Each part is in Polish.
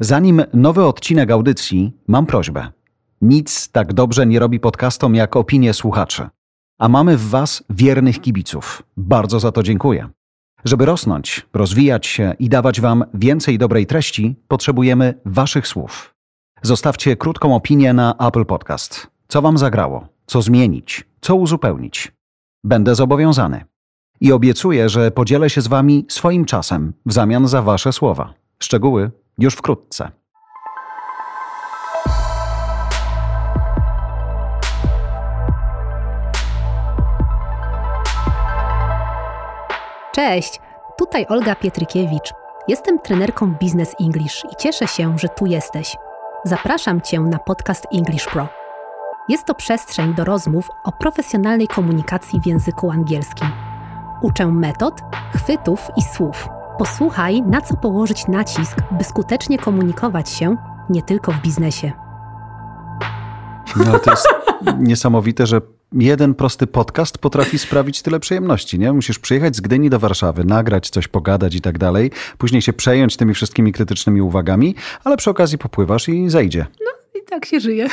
Zanim nowy odcinek audycji, mam prośbę. Nic tak dobrze nie robi podcastom jak opinie słuchaczy. A mamy w Was wiernych kibiców. Bardzo za to dziękuję. Żeby rosnąć, rozwijać się i dawać Wam więcej dobrej treści, potrzebujemy Waszych słów. Zostawcie krótką opinię na Apple Podcast. Co Wam zagrało? Co zmienić? Co uzupełnić? Będę zobowiązany. I obiecuję, że podzielę się z Wami swoim czasem w zamian za Wasze słowa. Szczegóły już wkrótce. Cześć, tutaj Olga Pietrykiewicz. Jestem trenerką Business English i cieszę się, że tu jesteś. Zapraszam Cię na podcast English Pro. Jest to przestrzeń do rozmów o profesjonalnej komunikacji w języku angielskim. Uczę metod, chwytów i słów. Posłuchaj, na co położyć nacisk, by skutecznie komunikować się nie tylko w biznesie. No, to jest niesamowite, że jeden prosty podcast potrafi sprawić tyle przyjemności, nie? Musisz przyjechać z Gdyni do Warszawy, nagrać coś, pogadać i tak dalej, później się przejąć tymi wszystkimi krytycznymi uwagami, ale przy okazji popływasz i zejdzie. No i tak się żyje.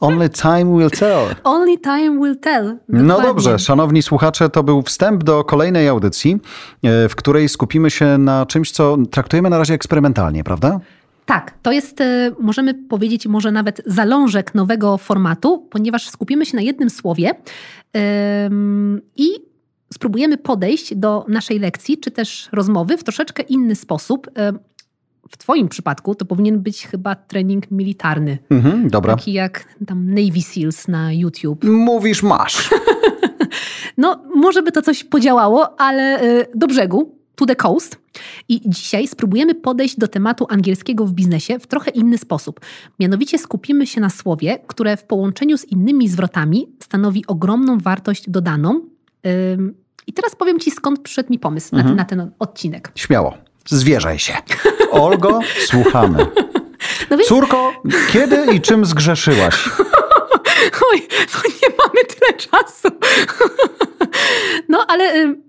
Only time will tell. Only time will tell. No dobrze, szanowni słuchacze, to był wstęp do kolejnej audycji, e, w której skupimy się na czymś, co traktujemy na razie eksperymentalnie, prawda? Tak, to jest, e, możemy powiedzieć, może nawet zalążek nowego formatu, ponieważ skupimy się na jednym słowie em, i spróbujemy podejść do naszej lekcji czy też rozmowy w troszeczkę inny sposób. Em, w Twoim przypadku to powinien być chyba trening militarny, Mhm, dobra. taki jak tam Navy Seals na YouTube. Mówisz, masz. No, może by to coś podziałało, ale y, do brzegu, to the coast. I dzisiaj spróbujemy podejść do tematu angielskiego w biznesie w trochę inny sposób. Mianowicie skupimy się na słowie, które w połączeniu z innymi zwrotami stanowi ogromną wartość dodaną. Ym, I teraz powiem Ci, skąd przyszedł mi pomysł Mhm. na, ten, na ten odcinek. Śmiało, zwierzaj się. Olgo, słuchamy. No więc, Córko, kiedy i czym zgrzeszyłaś? oj, no nie mamy tyle czasu. no, ale... ym,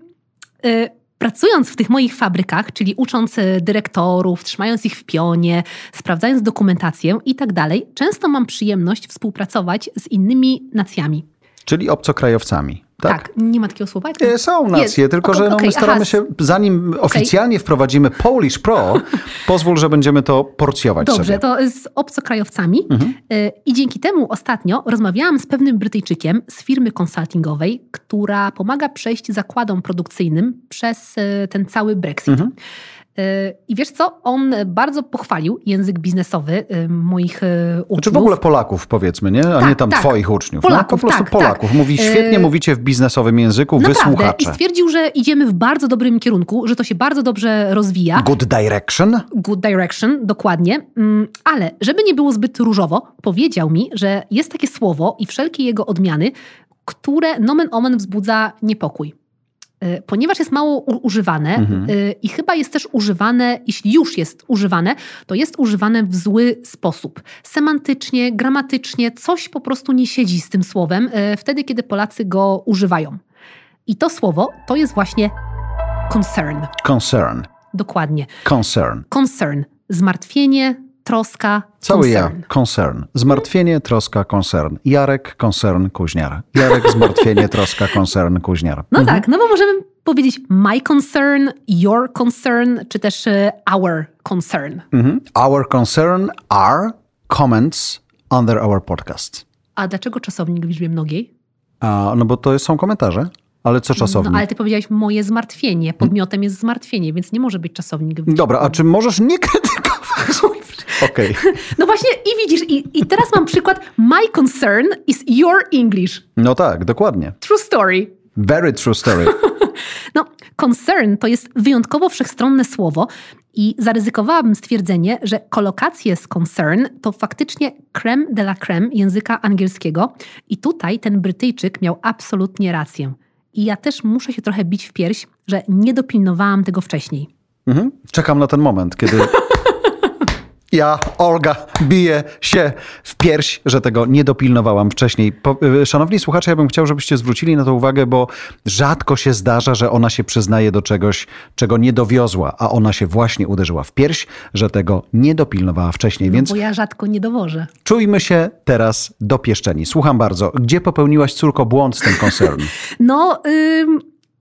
y, Pracując w tych moich fabrykach, czyli ucząc y, dyrektorów, trzymając ich w pionie, sprawdzając dokumentację i tak dalej, często mam przyjemność współpracować z innymi nacjami. Czyli obcokrajowcami, tak? nie ma takiego słowa? E, Są nacje, Jest. tylko Okej, że no, okej, my staramy aha. się, zanim oficjalnie wprowadzimy Polish Pro, pozwól, że będziemy to porcjować Dobrze, sobie. to z obcokrajowcami. Mhm. Y, I dzięki temu ostatnio rozmawiałam z pewnym Brytyjczykiem z firmy konsultingowej, która pomaga przejść zakładom produkcyjnym przez y, ten cały Brexit. Mhm. Y, I wiesz co? On bardzo pochwalił język biznesowy y, moich y, uczniów. Znaczy w ogóle Polaków powiedzmy, nie? A Tak, nie tam tak. twoich uczniów. no, Polaków, po prostu tak, Polaków. Mówi, tak. świetnie E, mówicie w biznesowym języku, Naprawdę. I wysłuchacze. stwierdził, że idziemy w bardzo dobrym kierunku, że to się bardzo dobrze rozwija. Good direction? Good direction, dokładnie. Mm, Ale żeby nie było zbyt różowo, powiedział mi, że jest takie słowo i wszelkie jego odmiany, które nomen omen wzbudza niepokój. Y, Ponieważ jest mało u- używane Mhm. y, i chyba jest też używane, jeśli już jest używane, to jest używane w zły sposób. Semantycznie, gramatycznie, coś po prostu nie siedzi z tym słowem y, wtedy, kiedy Polacy go używają. I to słowo to jest właśnie concern. Concern. Dokładnie Concern. concern, zmartwienie, troska, Cały concern. ja. Concern. Zmartwienie, troska, concern. Jarek, concern, kuźniar. Jarek, zmartwienie, troska, concern, kuźniar. No Mhm. tak, no bo możemy powiedzieć my concern, your concern, czy też e, our concern. Mhm. Our concern are comments under our podcast. A dlaczego czasownik w liczbie mnogiej? A, no bo to są komentarze. Ale co czasownik? Mhm. No ale ty powiedziałeś moje zmartwienie, podmiotem jest zmartwienie, więc nie może być czasownik. w- Dobra, a czy możesz nie krytykować? Okej. No właśnie i widzisz, i, i teraz mam przykład my concern is your English. No tak, dokładnie. True story. Very true story. No, concern to jest wyjątkowo wszechstronne słowo i zaryzykowałabym stwierdzenie, że kolokacje z concern to faktycznie creme de la creme języka angielskiego i tutaj ten Brytyjczyk miał absolutnie rację. I ja też muszę się trochę bić w pierś, że No, nie dopilnowałam tego wcześniej. Mhm. Czekam na ten moment, kiedy... Ja, Olga, biję się w pierś, że tego nie dopilnowałam wcześniej. Po, y, szanowni słuchacze, ja bym chciał, żebyście zwrócili na to uwagę, bo rzadko się zdarza, że ona się przyznaje do czegoś, czego nie dowiozła, a ona się właśnie uderzyła w pierś, że tego nie dopilnowała wcześniej. Więc No Bo ja rzadko nie dowożę. czujmy się teraz dopieszczeni. Słucham bardzo. Gdzie popełniłaś, córko, błąd z tym koncernem? No, ym,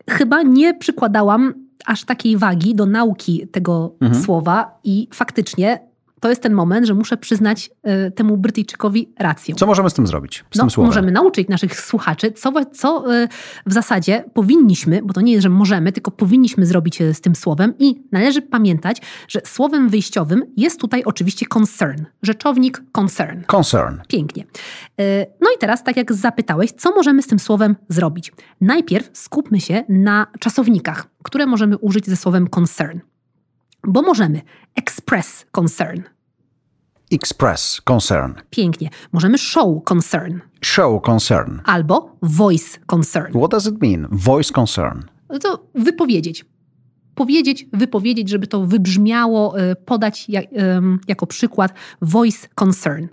chyba nie przykładałam aż takiej wagi do nauki tego Mhm. słowa i faktycznie to jest ten moment, że muszę przyznać y, temu Brytyjczykowi rację. Co możemy z tym zrobić? Z no, tym słowem? możemy nauczyć naszych słuchaczy, co, wa- co y, w zasadzie powinniśmy, bo to nie jest, że możemy, tylko powinniśmy zrobić y, z tym słowem i należy pamiętać, że słowem wyjściowym jest tutaj oczywiście concern, rzeczownik concern. Concern. Pięknie. Y, No i teraz, tak jak zapytałeś, co możemy z tym słowem zrobić? Najpierw skupmy się na czasownikach, które możemy użyć ze słowem concern. Bo możemy express concern. Express concern. Pięknie. Możemy show concern Show concern. albo voice concern. What does it mean? Voice concern. No to wypowiedzieć. Powiedzieć, wypowiedzieć, żeby to wybrzmiało, y, podać jak, ym, jako przykład voice concern.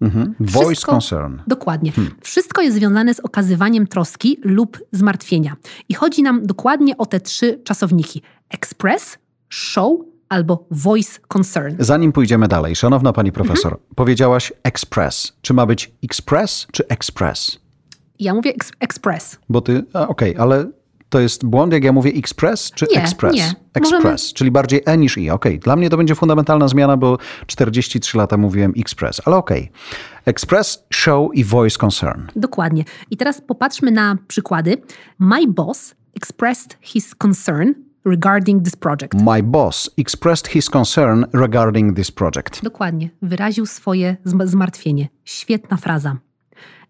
Mhm. Voice Wszystko- concern. Dokładnie. Wszystko jest związane z okazywaniem troski lub zmartwienia. I chodzi nam dokładnie o te trzy czasowniki: express, show albo voice concern. Zanim pójdziemy dalej, szanowna pani Mhm. profesor, powiedziałaś express. Czy ma być express czy express? Ja mówię ex- express. Bo ty, a, okej, ale to jest błąd, jak ja mówię express czy Nie, express? nie. Express, Możemy- czyli bardziej e niż i. Okej, dla mnie to będzie fundamentalna zmiana, bo 43 lata mówiłem express, ale okej. Express, show i voice concern. Dokładnie. I teraz popatrzmy na przykłady. My boss expressed his concern regarding this project. My boss expressed his concern regarding this project. Dokładnie. Wyraził swoje zm- zmartwienie. Świetna fraza.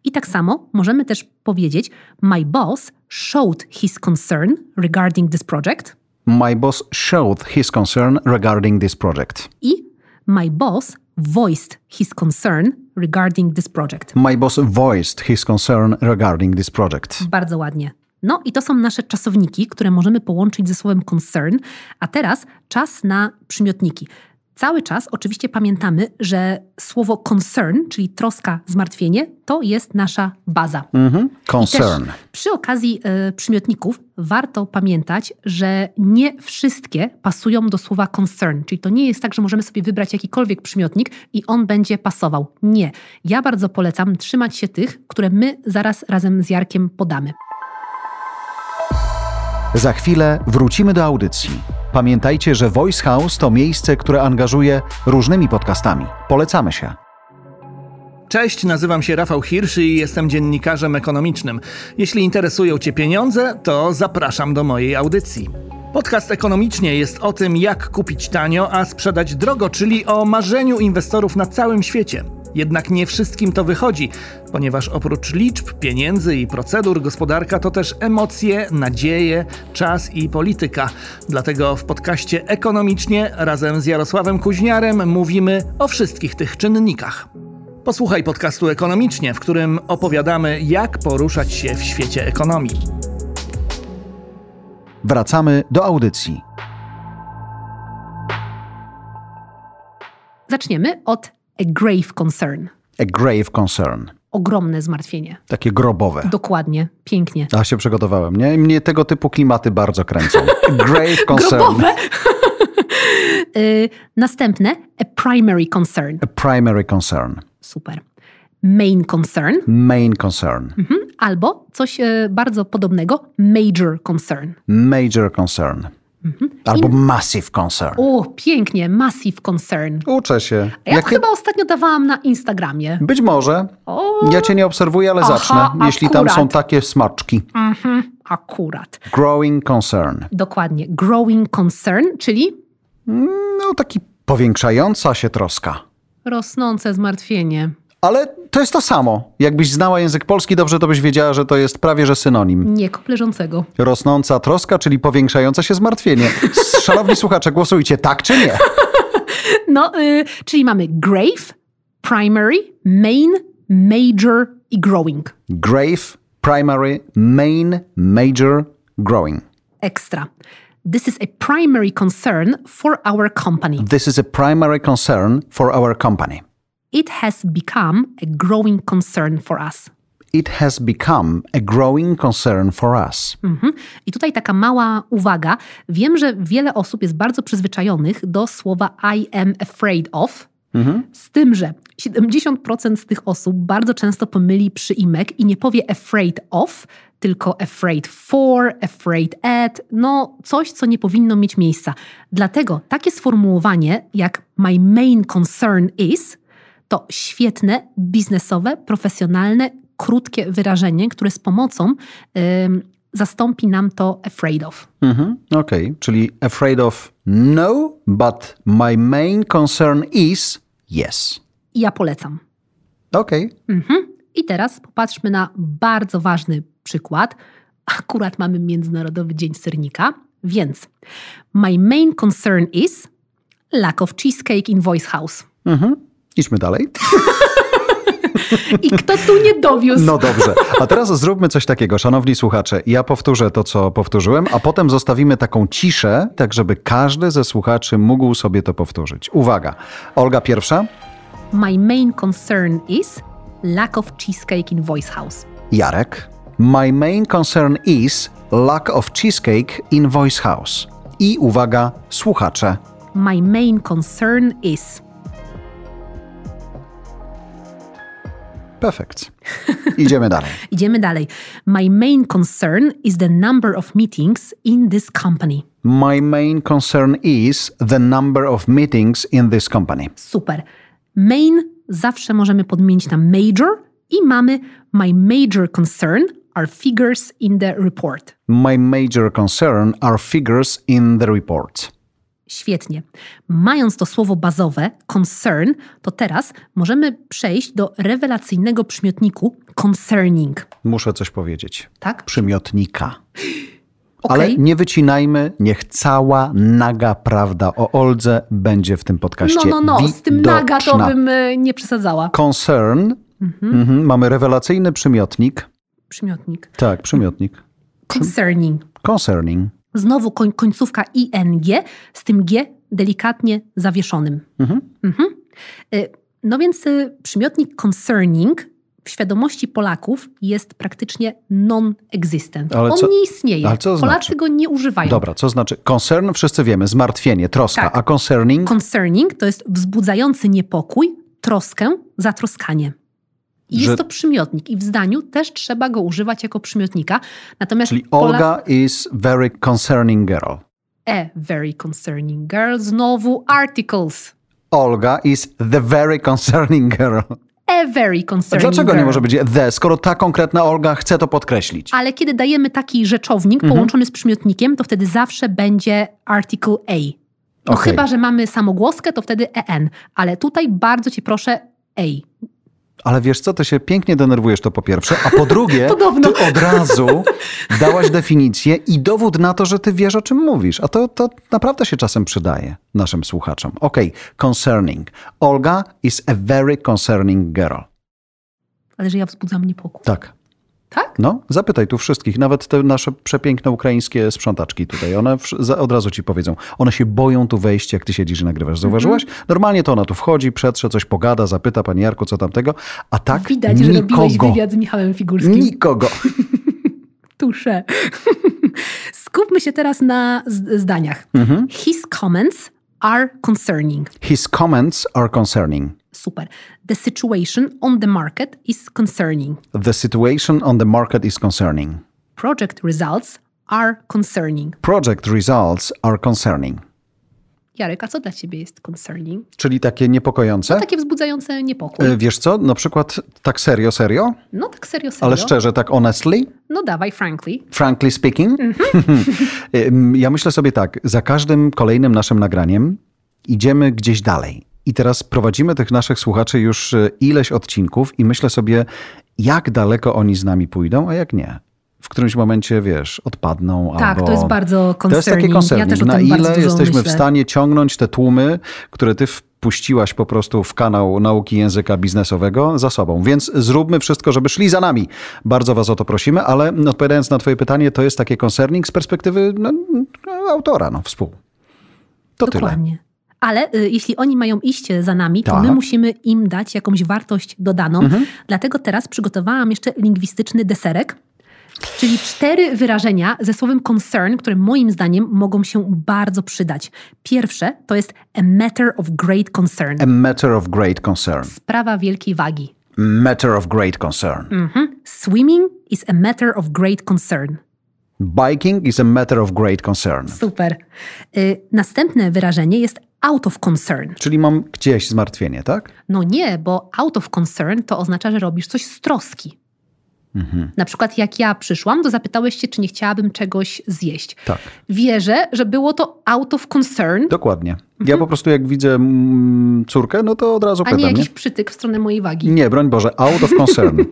I tak samo możemy też powiedzieć: My boss showed his concern regarding this project. My boss showed his concern regarding this project. i My boss voiced his concern regarding this project. My boss voiced his concern regarding this project. Bardzo ładnie. No i to są nasze czasowniki, które możemy połączyć ze słowem concern, a teraz czas na przymiotniki. Cały czas oczywiście pamiętamy, że słowo concern, czyli troska, zmartwienie, to jest nasza baza. Mhm. Też Concern. przy okazji e, przymiotników warto pamiętać, że nie wszystkie pasują do słowa concern, czyli to nie jest tak, że możemy sobie wybrać jakikolwiek przymiotnik i on będzie pasował. Nie. Ja bardzo polecam trzymać się tych, które my zaraz razem z Jarkiem podamy. Za chwilę wrócimy do audycji. Pamiętajcie, że Voice House to miejsce, które angażuje różnymi podcastami. Polecamy się. Cześć, nazywam się Rafał Hirszy i jestem dziennikarzem ekonomicznym. Jeśli interesują Cię pieniądze, to zapraszam do mojej audycji. Podcast Ekonomicznie jest o tym, jak kupić tanio, a sprzedać drogo, czyli o marzeniu inwestorów na całym świecie. Jednak nie wszystkim to wychodzi, ponieważ oprócz liczb, pieniędzy i procedur, gospodarka to też emocje, nadzieje, czas i polityka. Dlatego w podcaście Ekonomicznie razem z Jarosławem Kuźniarem mówimy o wszystkich tych czynnikach. Posłuchaj podcastu Ekonomicznie, w którym opowiadamy, jak poruszać się w świecie ekonomii. Wracamy do audycji. Zaczniemy od a grave concern. A grave concern. Ogromne zmartwienie. Takie grobowe. Dokładnie, pięknie. A się przygotowałem, nie? Mnie tego typu klimaty bardzo kręcą. Grave concern. Grobowe. Y, Następne a primary concern. A primary concern. Super. Main concern. Main concern. Mhm. Albo coś e, bardzo podobnego, major concern. Major concern. Mhm. Albo massive concern. O, pięknie, massive concern. Uczę się. Ja to Jakie- chyba ostatnio dawałam na Instagramie. Być może. O, Ja cię nie obserwuję, ale Aha, zacznę, jeśli tam są akurat. takie smaczki. mhm, akurat. Growing concern. Dokładnie. Growing concern, czyli No, taki powiększająca się troska. rosnące zmartwienie. Ale to jest to samo. Jakbyś znała język polski, dobrze to byś wiedziała, że to jest prawie że synonim. Nie kop leżącego. Rosnąca troska, czyli powiększające się zmartwienie. Szanowni słuchacze, głosujcie tak czy nie. No, y, czyli mamy grave, primary, main, major i growing. Grave, primary, main, major, growing. Ekstra. This is a primary concern for our company. This is a primary concern for our company. It has become a growing concern for us. It has become a growing concern for us. Mhm. I tutaj taka mała uwaga. Wiem, że wiele osób jest bardzo przyzwyczajonych do słowa I am afraid of, z tym, że 70% z tych osób bardzo często pomyli przyimek i nie powie afraid of, tylko afraid for, afraid at, no coś, co nie powinno mieć miejsca. Dlatego takie sformułowanie jak my main concern is to świetne, biznesowe, profesjonalne, krótkie wyrażenie, które z pomocą ym, zastąpi nam to afraid of. Mhm, Okej, czyli afraid of no, but my main concern is yes. I ja polecam. Okej, Mhm. I teraz popatrzmy na bardzo ważny przykład. Akurat mamy Międzynarodowy Dzień Syrnika, więc my main concern is lack of cheesecake in Voice House. idźmy dalej. I kto tu nie dowiózł? No dobrze, a teraz zróbmy coś takiego, szanowni słuchacze. Ja powtórzę to, co powtórzyłem, a potem zostawimy taką ciszę, tak żeby każdy ze słuchaczy mógł sobie to powtórzyć. Uwaga, Olga pierwsza, My main concern is lack of cheesecake in Voice House. Jarek. My main concern is lack of cheesecake in Voice House. I uwaga, słuchacze. My main concern is. Perfekt. Idziemy dalej. Idziemy dalej. My main concern is the number of meetings in this company. My main concern is the number of meetings in this company. Super. Main zawsze możemy podmienić na major i mamy my major concern are figures in the report. My major concern are figures in the report. Świetnie. Mając to słowo bazowe concern, to teraz możemy przejść do rewelacyjnego przymiotniku concerning, Muszę coś powiedzieć. tak? Przymiotnika. Okej. Ale nie wycinajmy, niech cała naga prawda o Oldze będzie w tym No, podcaście. no, no, z tym naga to widoczna. bym e, nie przesadzała. Concern. Mhm, mamy rewelacyjny przymiotnik. Przymiotnik. Tak, przymiotnik. Concerning. Concerning. Znowu koń, końcówka ing z tym g delikatnie zawieszonym. Mhm. Y, No więc y, przymiotnik concerning w świadomości Polaków jest praktycznie non-existent. Ale On co- nie istnieje. ale co to Polacy znaczy? go nie używają. Dobra, co znaczy? Concern wszyscy wiemy, zmartwienie, troska, Tak. a concerning? Concerning to jest wzbudzający niepokój, troskę, zatroskanie. I Że- jest to przymiotnik i w zdaniu też trzeba go używać jako przymiotnika. Natomiast Czyli Pola- Olga is very concerning girl. E, very concerning girl, znowu articles. Olga is the very concerning girl. A very concerning Dlaczego girl. nie może być the, skoro ta konkretna Olga chce to podkreślić? Ale kiedy dajemy taki rzeczownik Mhm. połączony z przymiotnikiem, to wtedy zawsze będzie article A. No Okej. chyba, że mamy samogłoskę, to wtedy EN. Ale tutaj bardzo cię proszę A. Ale wiesz co, ty się pięknie denerwujesz, to po pierwsze, a po drugie, Podobno. ty od razu dałaś definicję i dowód na to, że ty wiesz, o czym mówisz. A to, to naprawdę się czasem przydaje naszym słuchaczom. Okej, concerning. Olga is a very concerning girl. Ale że ja wzbudzam niepokój. Tak. Tak? No, zapytaj tu wszystkich, nawet te nasze przepiękne ukraińskie sprzątaczki tutaj. One wsz- za- od razu ci powiedzą. One się boją tu wejść, jak ty siedzisz i Mhm. nagrywasz. Zauważyłaś? Normalnie to ona tu wchodzi, przetrze, coś pogada, zapyta pani Jarko, co tamtego, a tak Widać, że nikogo. robiłeś wywiad z Michałem Figurskim. nikogo. Tusze. Skupmy się teraz na z- zdaniach. Mhm. His comments are concerning. His comments are concerning. Super. The situation on the market is concerning. The situation on the market is concerning. Project results are concerning. Project results are concerning. Jarek, a co dla ciebie jest concerning? Czyli takie niepokojące. Takie wzbudzające niepokój. E, Wiesz co, na przykład tak serio, serio, No tak serio, serio. ale szczerze, tak honestly. No dawaj, frankly. frankly speaking. Mhm. Ym, ja myślę sobie tak, za każdym kolejnym naszym nagraniem idziemy gdzieś dalej. I teraz prowadzimy tych naszych słuchaczy już y, ileś odcinków i myślę sobie, jak daleko oni z nami pójdą, a jak nie. W którymś momencie, wiesz, odpadną Tak, albo... to jest bardzo To jest concerning. taki concerning. Ja też o Na tym ile bardzo dużo jesteśmy myślę. w stanie ciągnąć te tłumy, które ty w puściłaś po prostu w kanał nauki języka biznesowego za sobą. Więc zróbmy wszystko, żeby szli za nami. Bardzo was o to prosimy, ale mm, odpowiadając na twoje pytanie, to jest takie concerning z perspektywy no, autora, no, współ. To tyle. Dokładnie. Ale y, jeśli oni mają iść za nami, to Tak. Mhm. my musimy im dać jakąś wartość dodaną. Dlatego teraz przygotowałam jeszcze lingwistyczny deserek, czyli cztery wyrażenia ze słowem concern, które moim zdaniem mogą się bardzo przydać. Pierwsze to jest a matter of great concern, A matter of great concern. sprawa wielkiej wagi. Matter of great concern. Mhm. Swimming is a matter of great concern. Biking is a matter of great concern. Super. Y, następne wyrażenie jest out of concern. Czyli mam gdzieś zmartwienie, tak? No nie, bo out of concern to oznacza, że robisz coś z troski. Na przykład jak ja przyszłam, to zapytałeś się, czy nie chciałabym czegoś zjeść. Tak. Wierzę, że było to out of concern, Dokładnie. Ja po prostu jak widzę mm, córkę, no to od razu a nie pytam. Nie, jakiś przytyk w stronę mojej wagi. nie, broń Boże, out of concern.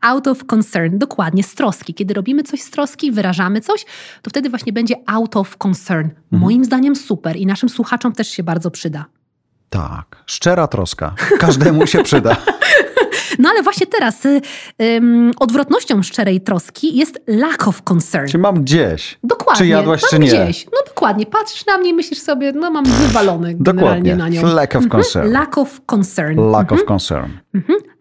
Out of concern, dokładnie, z troski. Kiedy robimy coś z troski, wyrażamy coś, to wtedy właśnie będzie out of concern. Moim zdaniem super i naszym słuchaczom też się bardzo przyda. tak, szczera troska. Każdemu się przyda. No ale właśnie teraz y, ym, odwrotnością szczerej troski jest lack of concern. Czy mam gdzieś? Dokładnie. Czy jadłaś, mam czy nie? Gdzieś. No dokładnie. Patrzysz na mnie i myślisz sobie, no mam wywalony generalnie Dokładnie. na nią. Mhm. Lack of concern. Lack of concern. Lack of concern.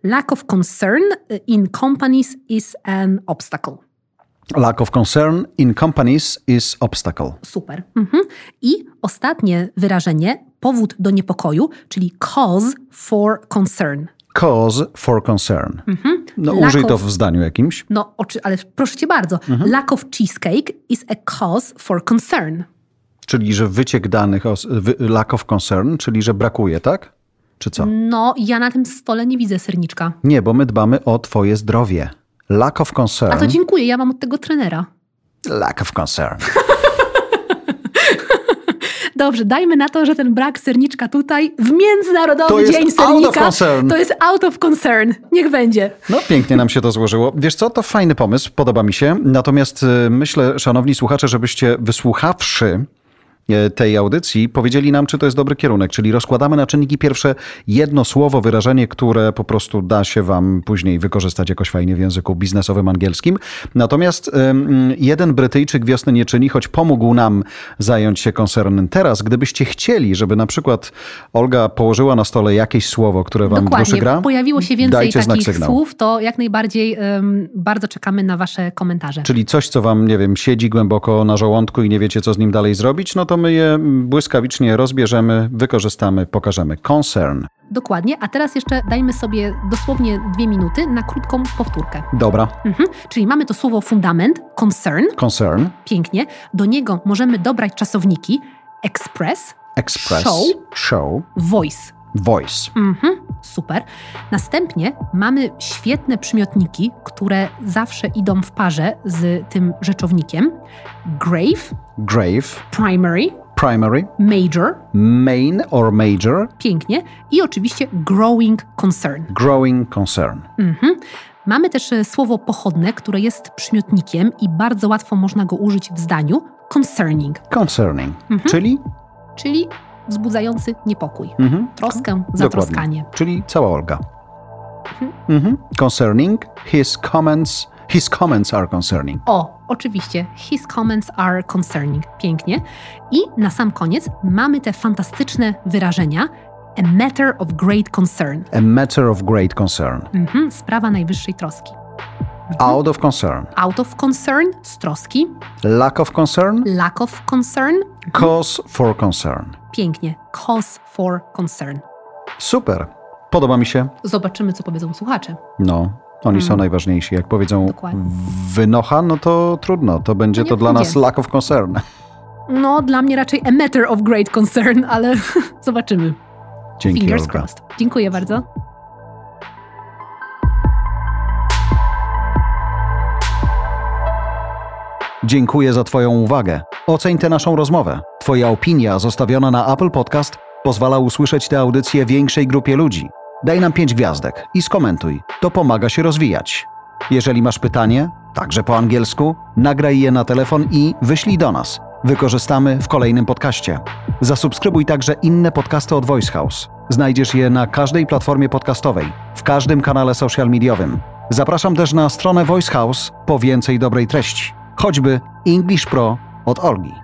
Lack of concern in companies is an obstacle. Lack of concern in companies is obstacle. Super. Mhm. I ostatnie wyrażenie, powód do niepokoju, czyli cause for concern. Cause for concern. No Mhm. Lack użyj to of- w zdaniu jakimś. No, oczy, ale proszę cię bardzo, Mhm. lack of cheesecake is a cause for concern. Czyli, że wyciek danych, os- wy- lack of concern, czyli, że brakuje, tak? Czy co? No, ja na tym stole nie widzę serniczka. Nie, bo my dbamy o twoje zdrowie. Lack of concern. A to dziękuję, ja mam od tego trenera. Lack of concern. Dobrze, dajmy na to, że ten brak serniczka tutaj w Międzynarodowy To jest Dzień out of Sernika concern. to jest out of concern. Niech będzie. No pięknie nam się to złożyło. Wiesz co, to fajny pomysł, podoba mi się. Natomiast y, myślę, szanowni słuchacze, żebyście wysłuchawszy e, tej audycji, powiedzieli nam, czy to jest dobry kierunek. Czyli rozkładamy na czynniki pierwsze jedno słowo, wyrażenie, które po prostu da się wam później wykorzystać jakoś fajnie w języku biznesowym angielskim. Natomiast ym, jeden Brytyjczyk wiosny nie czyni, choć pomógł nam zająć się koncernem teraz. Gdybyście chcieli, żeby na przykład Olga położyła na stole jakieś słowo, które wam w duszy Dokładnie. gra, Pojawiło się więcej dajcie znak takich sygnał. słów, to jak najbardziej em, bardzo czekamy na Wasze komentarze. Czyli coś, co wam, nie wiem, siedzi głęboko na żołądku i nie wiecie, co z nim dalej zrobić, no to my je błyskawicznie rozbierzemy, wykorzystamy, pokażemy. Concern. Dokładnie. A teraz jeszcze dajmy sobie dosłownie dwie minuty na krótką powtórkę. Dobra, Mhm. Czyli mamy to słowo fundament, concern, concern. pięknie. Do niego możemy dobrać czasowniki express, Express. Show. Show. voice. Voice. Mhm, super. Następnie mamy świetne przymiotniki, które zawsze idą w parze z tym rzeczownikiem. Grave, Grave. primary, Primary. major, Main or major. pięknie. I oczywiście growing concern. Growing concern. Mhm. Mamy też e, słowo pochodne, które jest przymiotnikiem i bardzo łatwo można go użyć w zdaniu concerning, Concerning. Mhm. Czyli? czyli wzbudzający niepokój, Mhm. troskę, zatroskanie. Czyli cała Olga. Mhm. Concerning. His comments. His comments are concerning. O, oczywiście, his comments are concerning. Pięknie. I na sam koniec mamy te fantastyczne wyrażenia. A matter of great concern. A matter of great concern. Mhm, sprawa najwyższej troski. Mhm. Out of concern. Out of concern, z troski. Lack of concern, Lack of concern, cause for concern. pięknie. Cause for concern. Super. Podoba mi się. Zobaczymy, co powiedzą słuchacze. No, oni są najważniejsi. Jak powiedzą Mm. Dokładnie. wynocha, no to trudno. To będzie No nie to dla będzie. nas lack of concern. No, dla mnie raczej a matter of great concern, ale zobaczymy. Dzięki, Fingers Olga. crossed. Dziękuję bardzo. Dziękuję za Twoją uwagę. Oceń tę naszą rozmowę. Twoja opinia zostawiona na Apple Podcast pozwala usłyszeć tę audycję większej grupie ludzi. Daj nam pięć gwiazdek i skomentuj. To pomaga się rozwijać. Jeżeli masz pytanie, także po angielsku, nagraj je na telefon i wyślij do nas. Wykorzystamy w kolejnym podcaście. Zasubskrybuj także inne podcasty od Voice House. Znajdziesz je na każdej platformie podcastowej, w każdym kanale social mediowym. Zapraszam też na stronę Voice House po więcej dobrej treści, choćby English Pro od Olgi.